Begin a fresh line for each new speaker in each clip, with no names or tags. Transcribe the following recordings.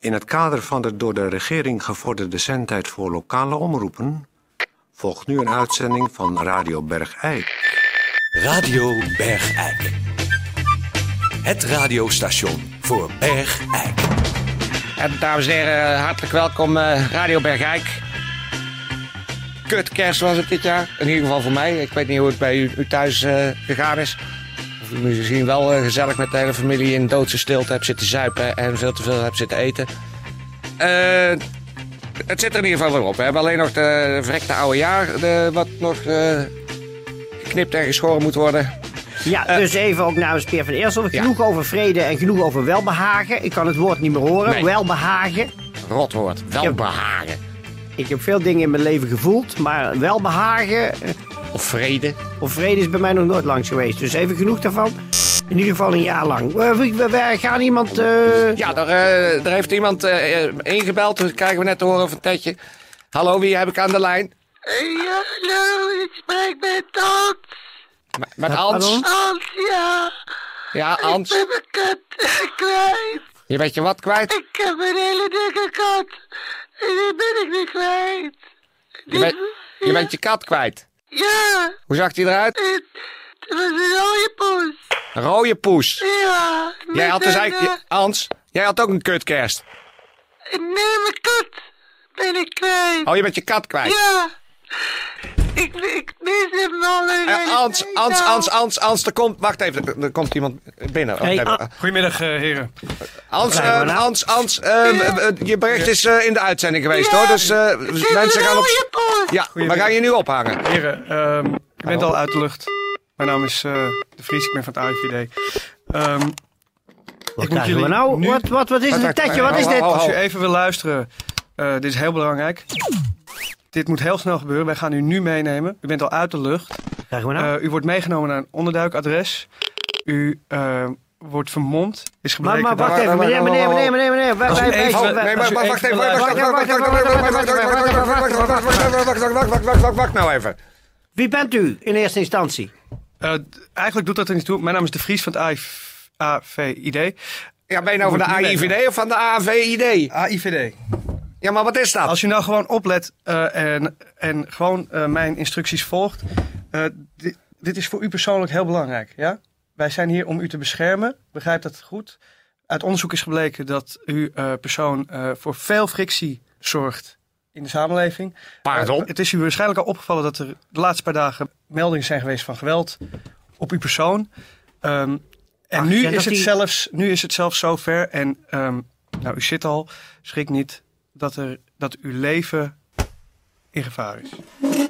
In het kader van de door de regering gevorderde zendtijd voor lokale omroepen volgt nu een uitzending van Radio Bergijk.
Radio Bergijk. Het radiostation voor Bergijk.
En dames en heren, hartelijk welkom eh, Radio Bergijk. Kut kerst was het dit jaar. In ieder geval voor mij. Ik weet niet hoe het bij u, u thuis eh, gegaan is. Of u misschien wel eh, gezellig met de hele familie in doodse stilte hebt zitten zuipen en veel te veel hebt zitten eten. Eh, het zit er in ieder geval weer op. We hebben alleen nog de verrekte oude jaar, de- wat nog eh, geknipt en geschoren moet worden.
Ja, dus even ook namens Peer van Eersel. Genoeg over vrede en genoeg over welbehagen. Ik kan het woord niet meer horen.
Nee.
Welbehagen.
Rotwoord, welbehagen.
Ik heb veel dingen in mijn leven gevoeld, maar welbehagen eh,
Of vrede.
of vrede is bij mij nog nooit langs geweest. Dus even genoeg daarvan. In ieder geval een jaar lang. Eh, We, we- we gaan iemand... eh,
Ja, daar, eh, daar heeft iemand eh, eh, ingebeld. Dat krijgen we net te horen van Tetje. Hallo, wie heb ik aan de lijn?
Ja, nou, ik spreek met Hans.
M- Met Ans.
pardon?
Hans, ja.
Ja,
Ik
Ans.
ben mijn kat eh, kwijt.
Je weet je wat kwijt?
Ik heb een hele dikke kat. En die ben ik niet kwijt.
Je, bent- je bent je kat kwijt.
Ja,
Hoe zag die eruit?
het, het was een rode poes.
Een rode poes.
Ja.
Jij
met
had dus
een,
eigenlijk...
eh,
je- Ans, jij had ook een kutkerst.
Nee, mijn eh, kat ben ik kwijt.
Oh, je bent je kat kwijt.
Ja. Ik, ik mis hem al een hele
Eh, Ans,
tijd Nou,
Ans,
al.
Ans, Ans, Ans, er komt... Wacht even, er, er komt iemand binnen. Oh,
Hey,
Wacht even.
An-
Goedemiddag, eh, heren.
Ans,
Blijf maar
eh,
nou.
Ans, Ans, eh, eh, eh, je bericht is eh, in de uitzending geweest,
Ja,
hoor. Dus eh,
Het is
mensen
een
gaan op...
rode poes.
Ja, we gaan je nu ophangen.
Heren, ehm ik ben al uit de lucht. Mijn naam is eh, De Vries, ik ben van het AIVD. Ehm,
Wat
moet
krijgen we
jullie
nou?
nu-
Wat, wat, wat is dit, Tetje? Wat is dit?
Oh,
als
oh.
u even wil luisteren, eh, dit is heel belangrijk. Dit moet heel snel gebeuren. Wij gaan u nu meenemen. U bent al uit de lucht.
Krijgen we nou?
Eh, u wordt meegenomen naar een onderduikadres. U eh, wordt vermomd. Is
maar,
gebleken
maar wacht
dat-
even, meneer, meneer, meneer, meneer, meneer. Wij- wij- wij-
even-
wij-
Nee, maar
Als u
wacht
even
wacht even, wacht
wil
wacht
luisteren.
wacht wacht wacht wacht wacht wacht wacht wacht wacht wacht wacht wacht wacht nou even.
Wie bent u in eerste instantie?
Eh, d- eigenlijk doet dat er niet toe. Mijn naam is De Vries van het AIV- AIVD.
Ja, ben je nou van de AIVD of van de AVID?
AIVD.
Ja, maar wat is dat?
Als u nou gewoon oplet eh, en, en gewoon eh, mijn instructies volgt. eh, di- dit is voor u persoonlijk heel belangrijk. Ja? Wij zijn hier om u te beschermen. Begrijp dat goed? Uit onderzoek is gebleken dat uw eh, persoon eh, voor veel frictie zorgt in de samenleving.
Pardon?
Eh, het is u waarschijnlijk al opgevallen dat er de laatste paar dagen meldingen zijn geweest van geweld op uw persoon. Ehm, en
Ach,
nu,
ja, dat
is het
die-
zelfs, nu is het zelfs zover. En ehm, nou, u zit al, schrik niet, dat, er, dat uw leven in gevaar is.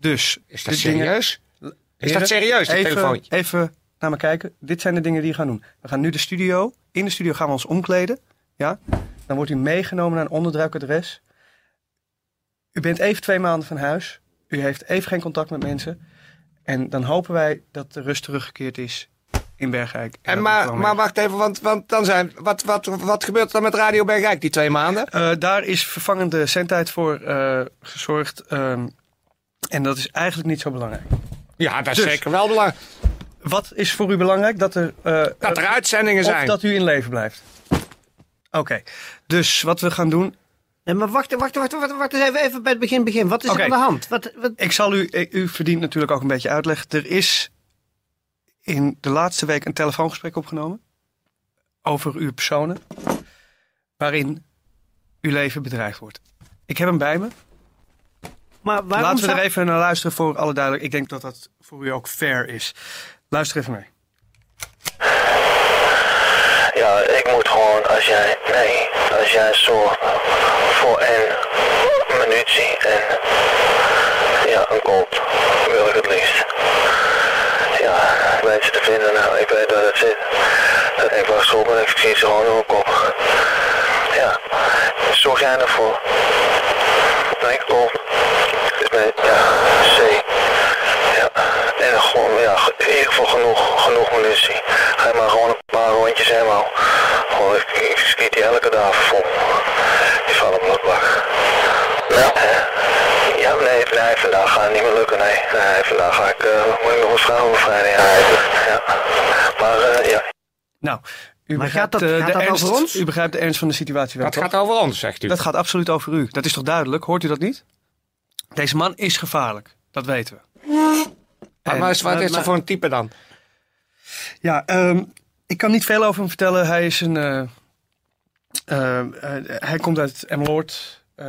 Dus,
Is dat
dit dingen-
serieus? Is
Heren,
dat serieus, dit
even,
telefoontje?
Even naar me kijken. Dit zijn de dingen die we gaan doen. We gaan nu de studio. In de studio gaan we ons omkleden. Ja? Dan wordt u meegenomen naar een onderduikadres. U bent even twee maanden van huis. U heeft even geen contact met mensen. En dan hopen wij dat de rust teruggekeerd is in Bergijk. En
En
dat het
maar,
gewoon
maar
weer-
wacht even, want, want dan zijn... Wat, wat, wat gebeurt er dan met Radio Bergijk die twee maanden?
Eh, daar is vervangende zendtijd voor eh, gezorgd. ehm, en dat is eigenlijk niet zo belangrijk.
Ja, dat is zeker wel belangrijk.
Wat is voor u belangrijk? Dat er, eh,
Dat er uitzendingen
Of
zijn.
dat u in leven blijft. Oké, dus wat we gaan doen.
Nee, maar wacht, wacht, wacht, wacht, wacht eens even, even bij het begin, begin. Wat is
Oké.
er aan de hand? Wat, wat,
Ik zal u, eh, u verdient natuurlijk ook een beetje uitleg. Er is in de laatste week een telefoongesprek opgenomen. Over uw personen. Waarin uw leven bedreigd wordt. Ik heb hem bij me.
maar waarom
Laten we
zou-
er even naar luisteren voor alle duidelijkheid. Ik denk dat dat voor u ook fair is. Luister even mee.
Ja, ik moet gewoon, als jij, nee, als jij zo voor een minuutje en ja, een kop wil ik het liefst. Ja, mensen te vinden, nou, ik weet waar het zit. Dat ik was op en ik zie ze gewoon ook op. Ja, zorg jij ervoor. Nee, kom. Nee, ja, C. Ja, en gewoon, ja, in ieder geval genoeg, genoeg munitie. Ga maar gewoon een paar rondjes helemaal. Gewoon, ik, ik schiet die elke dag vol. Die vallen op mijn bak. Ja, ja nee, nee, vandaag gaat het niet meer lukken, nee. Nee, vandaag ga ik, eh, moet ik nog een vrouw bevrijden, ja. ja. Maar, eh, ja,
Nou, U
Maar
begrijpt,
gaat dat-
eh,
gaat
de
dat
ernst,
over ons?
U begrijpt de ernst van de situatie wel,
Dat
toch?
gaat over ons, zegt u.
Dat gaat absoluut over u. Dat is toch duidelijk? Hoort u dat niet? Deze man is gevaarlijk. Dat weten we.
maar
En-
maar wat is
maar-
dat voor een type dan?
Ja, ehm, ik kan niet veel over hem vertellen. Hij is een... eh, ehm, eh, hij komt uit Emmeloord. Eh,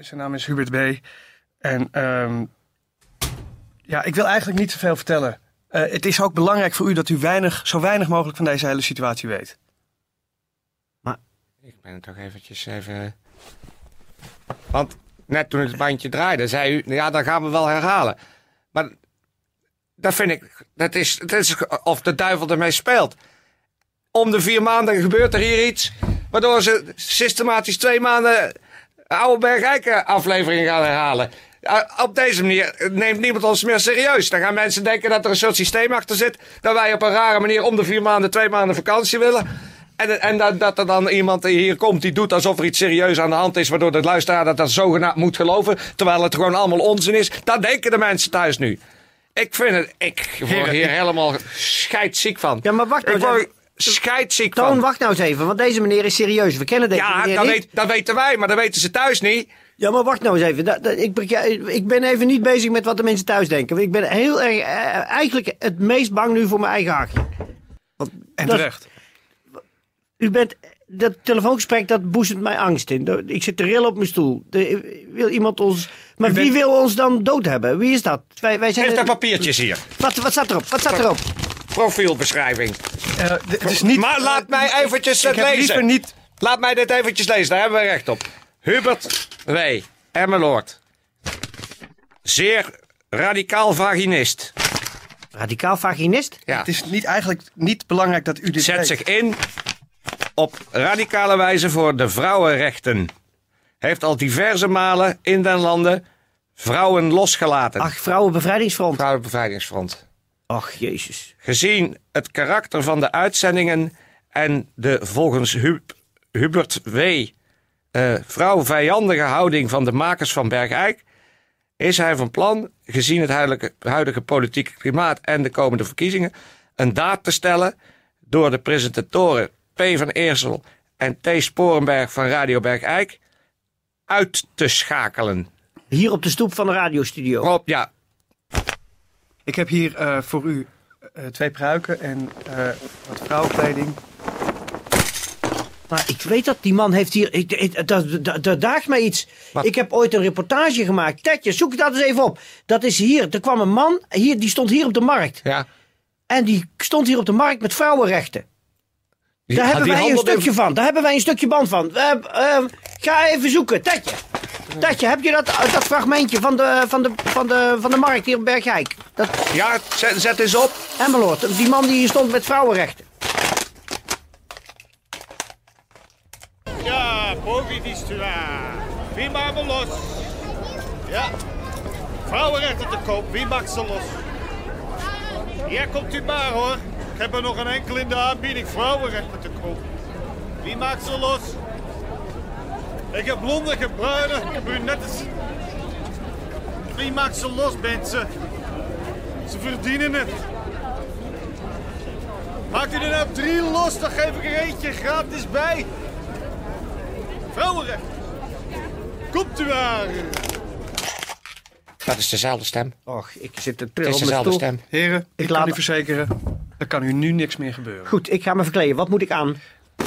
zijn naam is Hubert B. En ehm, ja, ik wil eigenlijk niet te veel vertellen. Eh, het is ook belangrijk voor u dat u weinig, zo weinig mogelijk van deze hele situatie weet.
Ik ben toch eventjes even... Want net toen het bandje draaide, zei u... Ja, dan gaan we wel herhalen. Maar dat vind ik... Dat is, dat is of de duivel ermee speelt. Om de vier maanden gebeurt er hier iets... waardoor ze systematisch twee maanden... oude Bergijken afleveringen gaan herhalen. Uh, Op deze manier neemt niemand ons meer serieus. Dan gaan mensen denken dat er een soort systeem achter zit. Dat wij op een rare manier om de vier maanden, twee maanden vakantie willen. En, en dat, dat er dan iemand hier komt die doet alsof er iets serieus aan de hand is. Waardoor de luisteraar dat, dat zogenaamd moet geloven. Terwijl het gewoon allemaal onzin is. Dat denken de mensen thuis nu. Ik vind het. Ik word
Heren,
hier helemaal scheidziek van.
Ja, maar wacht
Ik
eens
word
even.
scheidziek van.
Toon, wacht nou eens even, want deze meneer is serieus. We kennen deze
Ja,
meneer
dat,
niet.
weet, dat weten wij, maar dat weten ze thuis niet.
Ja, maar wacht nou eens even. Dat- dat- ik, beg- ik ben even niet bezig met wat de mensen thuis denken. Ik ben heel erg, eh, eigenlijk het meest bang nu voor mijn eigen haakje.
En
Dat-
terecht.
U bent, dat telefoongesprek, dat boezemt mij angst in. Dat- Ik zit te rillen op mijn stoel. De- wil iemand ons... Maar
U bent-
wie wil ons dan dood hebben? Wie is dat? Wij, wij zijn
Heeft
de-
dat papiertjes hier.
wat, wat staat erop? Wat staat erop?
Profielbeschrijving.
Eh, d- het is niet,
Maar laat mij eventjes het
ik heb
lezen.
liever niet...
Laat mij dit eventjes lezen, daar hebben we recht op. Hubert W. Emmeloord. Zeer radicaal vaginist.
Radicaal vaginist?
Ja.
Het is niet, eigenlijk niet belangrijk dat u dit
Zet
weet.
zich in op radicale wijze voor de vrouwenrechten. Heeft al diverse malen in den landen vrouwen losgelaten.
Ach, Vrouwenbevrijdingsfront.
Vrouwenbevrijdingsfront.
Ach, jezus.
Gezien het karakter van de uitzendingen en de volgens Hub- Hubert W. eh, vrouwvijandige houding van de makers van Bergijk, is hij van plan, gezien het huidige, huidige politieke klimaat en de komende verkiezingen, een daad te stellen door de presentatoren P. van Eersel en T. Sporenberg van Radio Bergijk uit te schakelen.
Hier op de stoep van de radiostudio.
Rob, ja,
Ik heb hier eh, voor u eh, twee pruiken en eh, wat vrouwenkleding.
Maar ik weet dat, die man heeft hier... Ik, ik- dat, dat, dat daagt mij iets.
Wat?
Ik heb ooit een reportage gemaakt. Tetje, zoek dat eens even op. Dat is hier. Er kwam een man, hier, die stond hier op de markt.
ja.
En die stond hier op de markt met vrouwenrechten. Daar hebben
die
wij een
handelde-
stukje van. Daar hebben wij een stukje band van. Eh, eh, ga even zoeken. Tetje. Tetje, heb je dat, dat fragmentje van de, van, de, van, de, van de markt hier in Bergijk? Dat
Ja, zet, zet eens op.
Emmeloord, die man die hier stond met vrouwenrechten.
Ja, Bovi die is te waar. Wie maakt me los? Ja. Vrouwenrechten te koop, wie maakt ze los? Ja, komt u maar hoor. Ik heb er nog een enkel in de aanbieding. Vrouwenrechten te koop. Wie maakt ze los? Ik heb blonde, ik heb bruine, ik heb brunettes. Wie maakt ze los, mensen? Ze verdienen het. Maakt u er nou drie los, dan geef ik er eentje gratis bij. Vrouwenrecht. Komt u maar.
Dat is dezelfde stem.
Och, ik zit te
Het
trillen
is
op mijn
dezelfde
stoel.
stem.
Heren, ik,
laat-
kan u verzekeren, er kan u nu niks meer gebeuren.
Goed, ik ga me verkleden. Wat moet ik aan?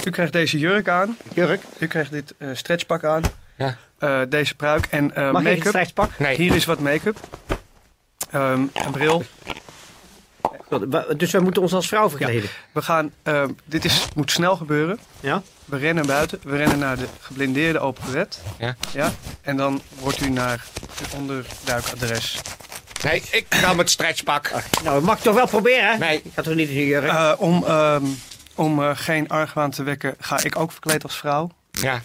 U krijgt deze jurk aan,
Jurk,
u krijgt dit eh, stretchpak aan,
Ja.
eh, deze pruik en eh,
mag ik een
make-up.
strijkspak?
Nee.
Hier is wat make-up. Ehm, een bril.
Dus wij moeten ons als vrouw verkleden.
We gaan, ehm, dit is, moet snel gebeuren.
Ja?
We rennen buiten, we rennen naar de geblindeerde open bed.
Ja.
ja. En dan wordt u naar het onderduikadres
Nee, ik ga met stretchpak.
Nou, ik mag het toch wel proberen? hè?
Nee.
Ik ga toch niet in een jurk?
Eh, om ehm, om eh, geen argwaan te wekken, ga ik ook verkleed als vrouw.
Ja.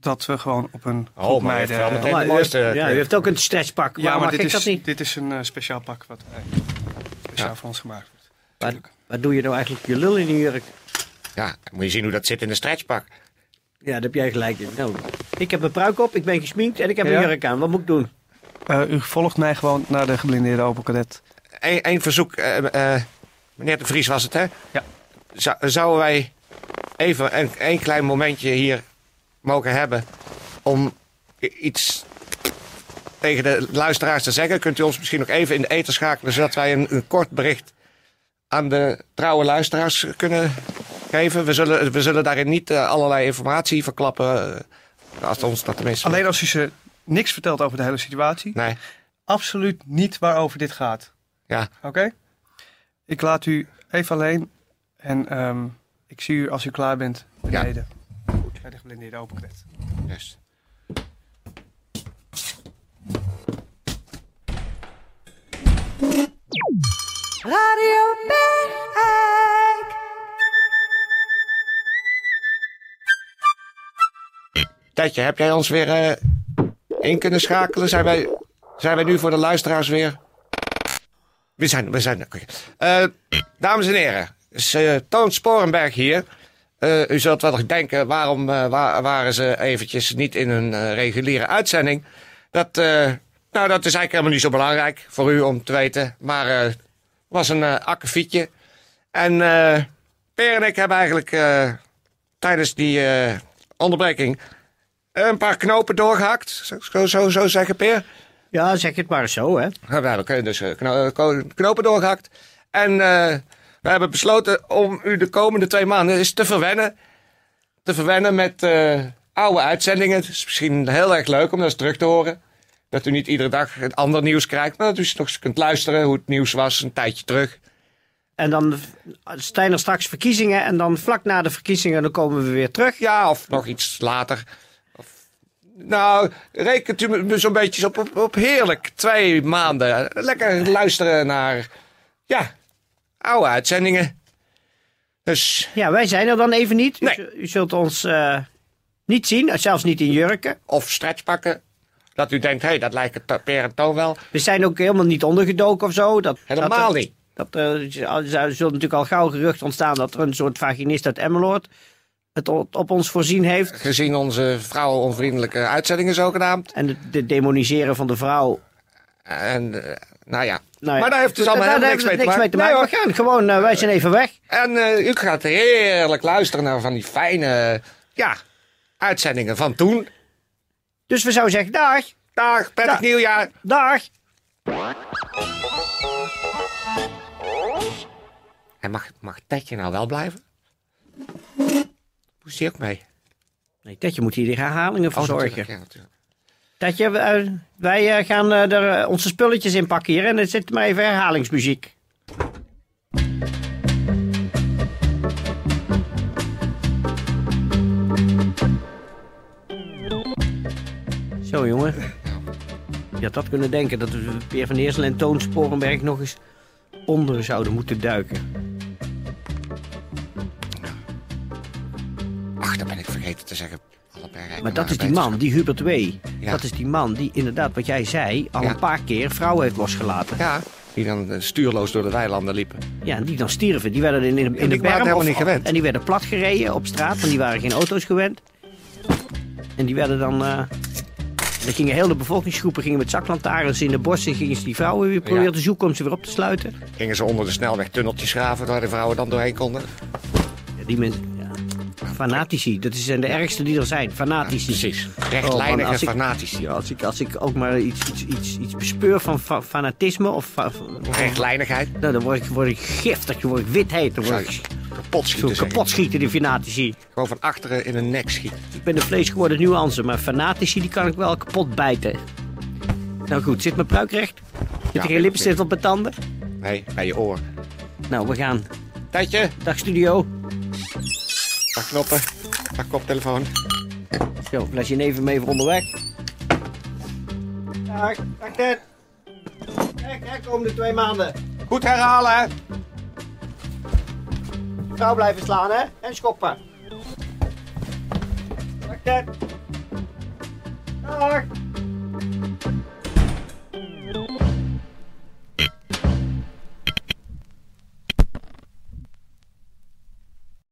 Dat we gewoon op een
Oh,
groep
maar hij heeft
meiden...
wel meteen-
ja,
Maar
de
u
mooiste eh,
heeft- ja, u
kleur.
heeft ook een stretchpak. Ja, maar, mag
dit
ik
is,
dat niet?
dit is een eh, speciaal pak wat eh, speciaal voor ons gemaakt wordt.
Waar, waar doe je nou eigenlijk je lul in een jurk?
Ja, dan moet je zien hoe dat zit in de stretchpak.
Ja, daar heb jij gelijk in. Nou, ik heb een pruik op, ik ben gesminkt en ik heb
Ja.
een jurk aan. Wat moet ik doen?
Eh, u volgt mij gewoon naar de geblindeerde open cadet.
Eén één verzoek. eh, eh, meneer de Vries was het, hè?
Ja.
Zou- zouden wij even een, een klein momentje hier mogen hebben om i- iets tegen de luisteraars te zeggen, kunt u ons misschien nog even in de eten schakelen, zodat wij een, een kort bericht aan de trouwe luisteraars kunnen geven. We zullen, we zullen daarin niet eh, allerlei informatie verklappen, eh, als ons dat tenminste...
Alleen als u ze niks vertelt over de hele situatie.
Nee,
Absoluut niet waarover dit gaat.
ja.
Oké? Ik laat u even alleen. En ehm, ik zie u als u klaar bent beneden. Goed, bij de geblindeerde openklet.
Juist.
Radio Bergijk.
Tijdje, heb jij ons weer eh, in kunnen schakelen? Zijn wij, zijn wij nu voor de luisteraars weer? We zijn, we zijn. oké. Eh, dames en heren, is, eh, Toon Sporenberg hier. Eh, u zult wel denken, waarom eh, wa- waren ze eventjes niet in hun eh, reguliere uitzending? Dat, eh, nou, dat is eigenlijk helemaal niet zo belangrijk voor u om te weten. Maar eh, het was een eh akkefietje. En eh Per en ik hebben eigenlijk eh, tijdens die eh, onderbreking een paar knopen doorgehakt. Zo, zo, zo zeggen, Peer.
Ja, zeg het maar zo, hè.
Nou, We hebben dus eh, kno- eh, ko- knopen doorgehakt. En eh, we hebben besloten om u de komende twee maanden eens te verwennen. Te verwennen met eh, oude uitzendingen. Het is misschien heel erg leuk om dat eens terug te horen. Dat u niet iedere dag het ander nieuws krijgt. Maar dat u nog eens kunt luisteren hoe het nieuws was een tijdje terug.
En dan zijn er straks verkiezingen. En dan vlak na de verkiezingen, dan komen we weer terug.
Ja, of nog iets later. Of, nou, rekent u me zo'n beetje op, op, op heerlijk twee maanden. Lekker luisteren naar, ja, oude uitzendingen. Dus,
Ja, wij zijn er dan even niet. U
Nee.
zult- U, zult ons eh, niet zien, zelfs niet in jurken.
of stretchpakken. Dat u denkt, hé, hey, dat lijkt het eh, per en toon wel.
We zijn ook helemaal niet ondergedoken of zo. Dat,
Helemaal
dat,
niet.
Dat, eh, er zullen natuurlijk al gauw gerucht ontstaan dat er een soort vaginist uit Emmeloord het o- op ons voorzien heeft.
Gezien onze vrouwenonvriendelijke uitzendingen zogenaamd.
En het de demoniseren van de vrouw.
En, eh, nou ja.
Nou ja,
Maar daar heeft dus allemaal helemaal niks mee te
heeft het
maken. Nee, hoor.
We gaan gewoon, eh, wij zijn even weg.
En eh, u gaat heerlijk luisteren naar van die fijne, ja, uitzendingen van toen.
Dus we zouden zeggen, dag,
Dag, prettig
Ja.
nieuwjaar.
dag.
En mag, mag Tetje nou wel blijven? Moest hij ook mee? Oh,
Nee, Tetje moet hier de herhalingen voor zorgen.
natuurlijk, ja, natuurlijk.
Tetje, we, eh, wij eh, gaan eh, er eh, onze spulletjes in pakken hier. En er zit maar even herhalingsmuziek. Zo, jongen. Je had dat kunnen denken, dat we Peer van Eersel en Toon Sporenberg nog eens onder zouden moeten duiken.
Ach, dat ben ik vergeten te zeggen. Alle bergrijken
Maar dat
waren
is die man,
beter.
die Hubert W.
Ja.
Dat is die man die inderdaad, wat jij zei, al
Ja.
een paar keer vrouwen heeft losgelaten.
Ja, die dan eh, stuurloos door de weilanden liepen.
Ja, en die dan stierven. Die werden in, in,
die
in de
waren
berm
helemaal
of-
niet gewend.
En die werden platgereden op straat, want die waren geen auto's gewend. En die werden dan... eh dan gingen heel de bevolkingsgroepen gingen met zaklantaarns in de bossen... gingen ze die vrouwen weer proberen
Ja.
te zoeken om ze weer op te sluiten.
Gingen ze onder de snelweg tunneltjes graven waar de vrouwen dan doorheen konden.
Ja, die mensen... Ja. Fanatici, dat zijn de ergste die er zijn. Fanatici.
Precies.
Oh, man,
Rechtlijnige
als ik-
fanatici.
Ja, als ik, als ik ook maar iets, iets, iets, iets bespeur van fa- fanatisme of... fa-
Rechtlijnigheid.
nou, dan word ik, word ik giftig, dan word ik wit dan word
Zou je
ik
kapot schieten.
zo
zeggen.
kapot schieten, die fanatici.
Gewoon van achteren in de nek schieten.
Ik ben een vlees geworden nuance, maar fanatici die kan ik wel kapot bijten. Nou goed, zit mijn pruik recht? Zit
Ja,
er geen lipstift op mijn tanden?
Nee, bij je oor.
Nou, we gaan.
Tijdje,
Dag studio.
pak knoppen. Pak koptelefoon.
Zo, flesje neven mee voor onderweg. Dag, dag Ted. Kijk, kijk, komende twee maanden.
Goed herhalen, hè?
Vrouw blijven slaan, hè? En schoppen. Dag Ted. Dag.